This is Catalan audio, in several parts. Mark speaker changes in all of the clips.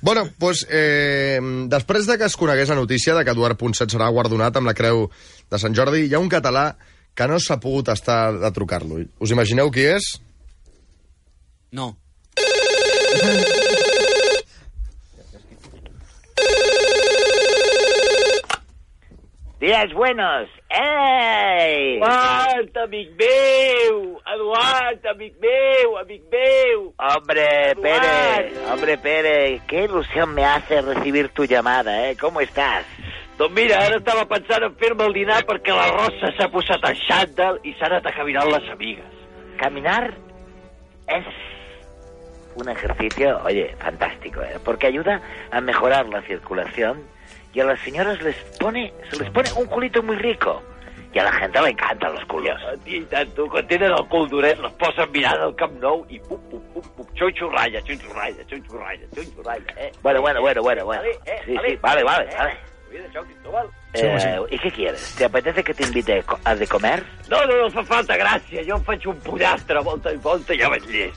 Speaker 1: Bueno, doncs, eh, després de que es conegués la notícia de que Eduard Ponset serà guardonat amb la creu de Sant Jordi, hi ha un català que no s'ha pogut estar de trucar-lo. Us imagineu qui és?
Speaker 2: No.
Speaker 3: Días buenos. Ei!
Speaker 4: Eduard, amic meu! Eduard, amic meu, amic meu!
Speaker 3: Hombre, Pérez,
Speaker 4: Eduard.
Speaker 3: hombre, Pérez, qué ilusión me hace recibir tu llamada, ¿eh? ¿Cómo estás?
Speaker 4: Doncs mira, ara estava pensant en fer-me el dinar perquè la Rosa s'ha posat en xandall i s'ha anat a caminar amb les amigues.
Speaker 3: Caminar es un ejercicio, oye, fantástico, ¿eh? Porque ayuda a mejorar la circulación y a las señoras les pone, se les pone un culito muy rico. Y a la gente le encantan los culos.
Speaker 4: Ah, I tant, tu, quan tenen el cul duret, les posen mirant al Camp Nou i pum, pum, pum, pum, xonxorralla, xonxorralla, xonxorralla, xonxorralla, eh?
Speaker 3: Bueno, bueno, bueno, bueno, bueno.
Speaker 4: Vale, eh,
Speaker 3: Sí,
Speaker 4: vale.
Speaker 3: sí, vale, vale,
Speaker 4: Eh,
Speaker 3: vale.
Speaker 4: Mira això, Cristóbal.
Speaker 3: Eh, ¿Y qué quieres? ¿Te apetece que te invite co- a de comer?
Speaker 4: No, no, no fa falta gràcia, jo em faig un pollastre volta i volta i ja vaig llest.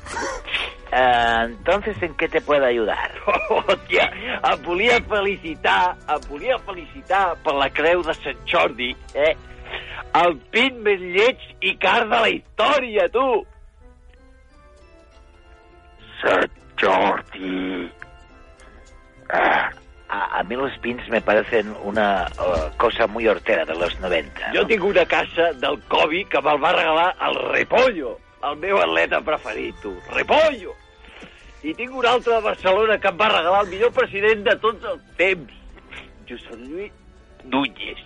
Speaker 3: Eh, entonces, ¿en qué te puedo ayudar?
Speaker 4: Hòstia, em volia felicitar, em volia felicitar per la creu de Sant Jordi, eh? El pin més lleig i car de la història, tu!
Speaker 3: Sant Jordi. A, a mí los pins me parecen una eh, cosa muy hortera de los 90.
Speaker 4: Jo
Speaker 3: ¿no?
Speaker 4: tinc una casa del Kobe que me'l va regalar el Repollo, el meu atleta preferit, tu. Repollo! I tinc un altre de Barcelona que em va regalar el millor president de tots els temps, Josep Lluís Núñez.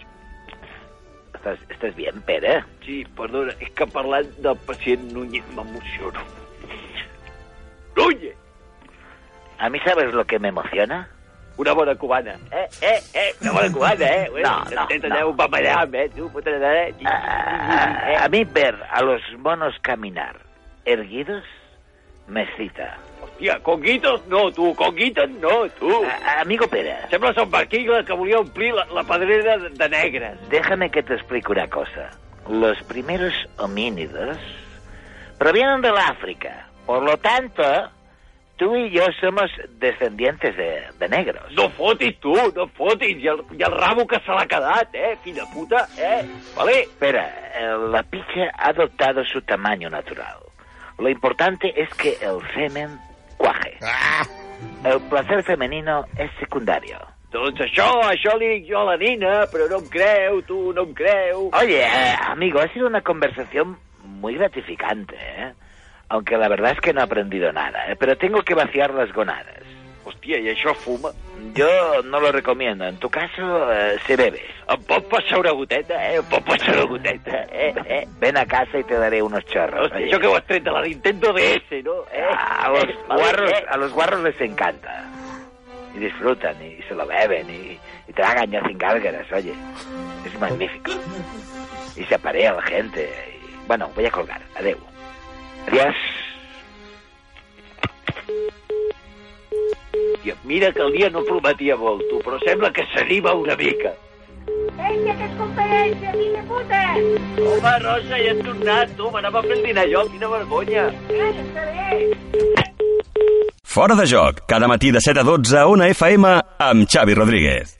Speaker 3: ¿Estás, estás bien, Pere?
Speaker 4: Sí, perdona, és que parlant del pacient Núñez m'emociono. Núñez!
Speaker 3: ¿A mí sabes lo que me emociona?
Speaker 4: Una bona cubana. Eh, eh, eh, una bona cubana, eh?
Speaker 3: No, no,
Speaker 4: Tens
Speaker 3: no.
Speaker 4: allà un papallam, eh? Tu, puta de... Eh?
Speaker 3: Ah, a mí ver a los monos caminar erguidos me excita.
Speaker 4: Hòstia, conguitos no, tu, conguitos no, tu.
Speaker 3: Ah, amigo Pere,
Speaker 4: Sembla Son Barquigla que volia omplir la, la pedrera de, de negres.
Speaker 3: Déjame que te explique una cosa. Los primeros homínidos provienen del África. Por lo tanto, tú y yo somos descendientes de, de negros.
Speaker 4: No fotis, tu, no fotis. I el, i el rabo que se l'ha quedat, eh, fill de puta, eh? Vale?
Speaker 3: Espera, eh, la picha ha adoptado su tamaño natural. Lo importante es que el semen cuaje.
Speaker 1: Ah!
Speaker 3: El placer femenino es secundario.
Speaker 4: Doncs això, això li dic jo a la nina, però no em creu, tu, no em creu.
Speaker 3: Oye, eh, amigo, ha sido una conversación muy gratificante, ¿eh? Aunque la verdad es que no he aprendido nada, ¿eh? pero tengo que vaciar las gonadas.
Speaker 4: Hòstia, i això fuma?
Speaker 3: Yo no lo recomiendo. En tu caso, eh, se bebe. pues,
Speaker 4: Em pot passar una goteta, eh? Em pot passar una goteta, eh? eh?
Speaker 3: Ven a casa y te daré unos chorros.
Speaker 4: Hòstia, això que ho has tret de la Nintendo DS, no? Eh?
Speaker 3: Ah, a, los
Speaker 4: Eh, vale,
Speaker 3: guarros,
Speaker 4: eh?
Speaker 3: a los guarros les encanta. Y disfrutan, y se lo beben, y, y tragan ya sin gálgaras, oye. Es magnífico. Y se aparea la gente. y- Bueno, voy a colgar. Adeu. Adiós.
Speaker 4: Hòstia, mira que el dia no prometia molt, tu, però sembla que s'anima una mica.
Speaker 5: Ei, que és conferència, fill de puta!
Speaker 4: Home, Rosa, ja has tornat, tu, m'anava fent dinar jo, quina vergonya.
Speaker 5: Ei, està bé!
Speaker 6: Fora de joc, cada matí de 7 a 12 a 1 FM amb Xavi Rodríguez.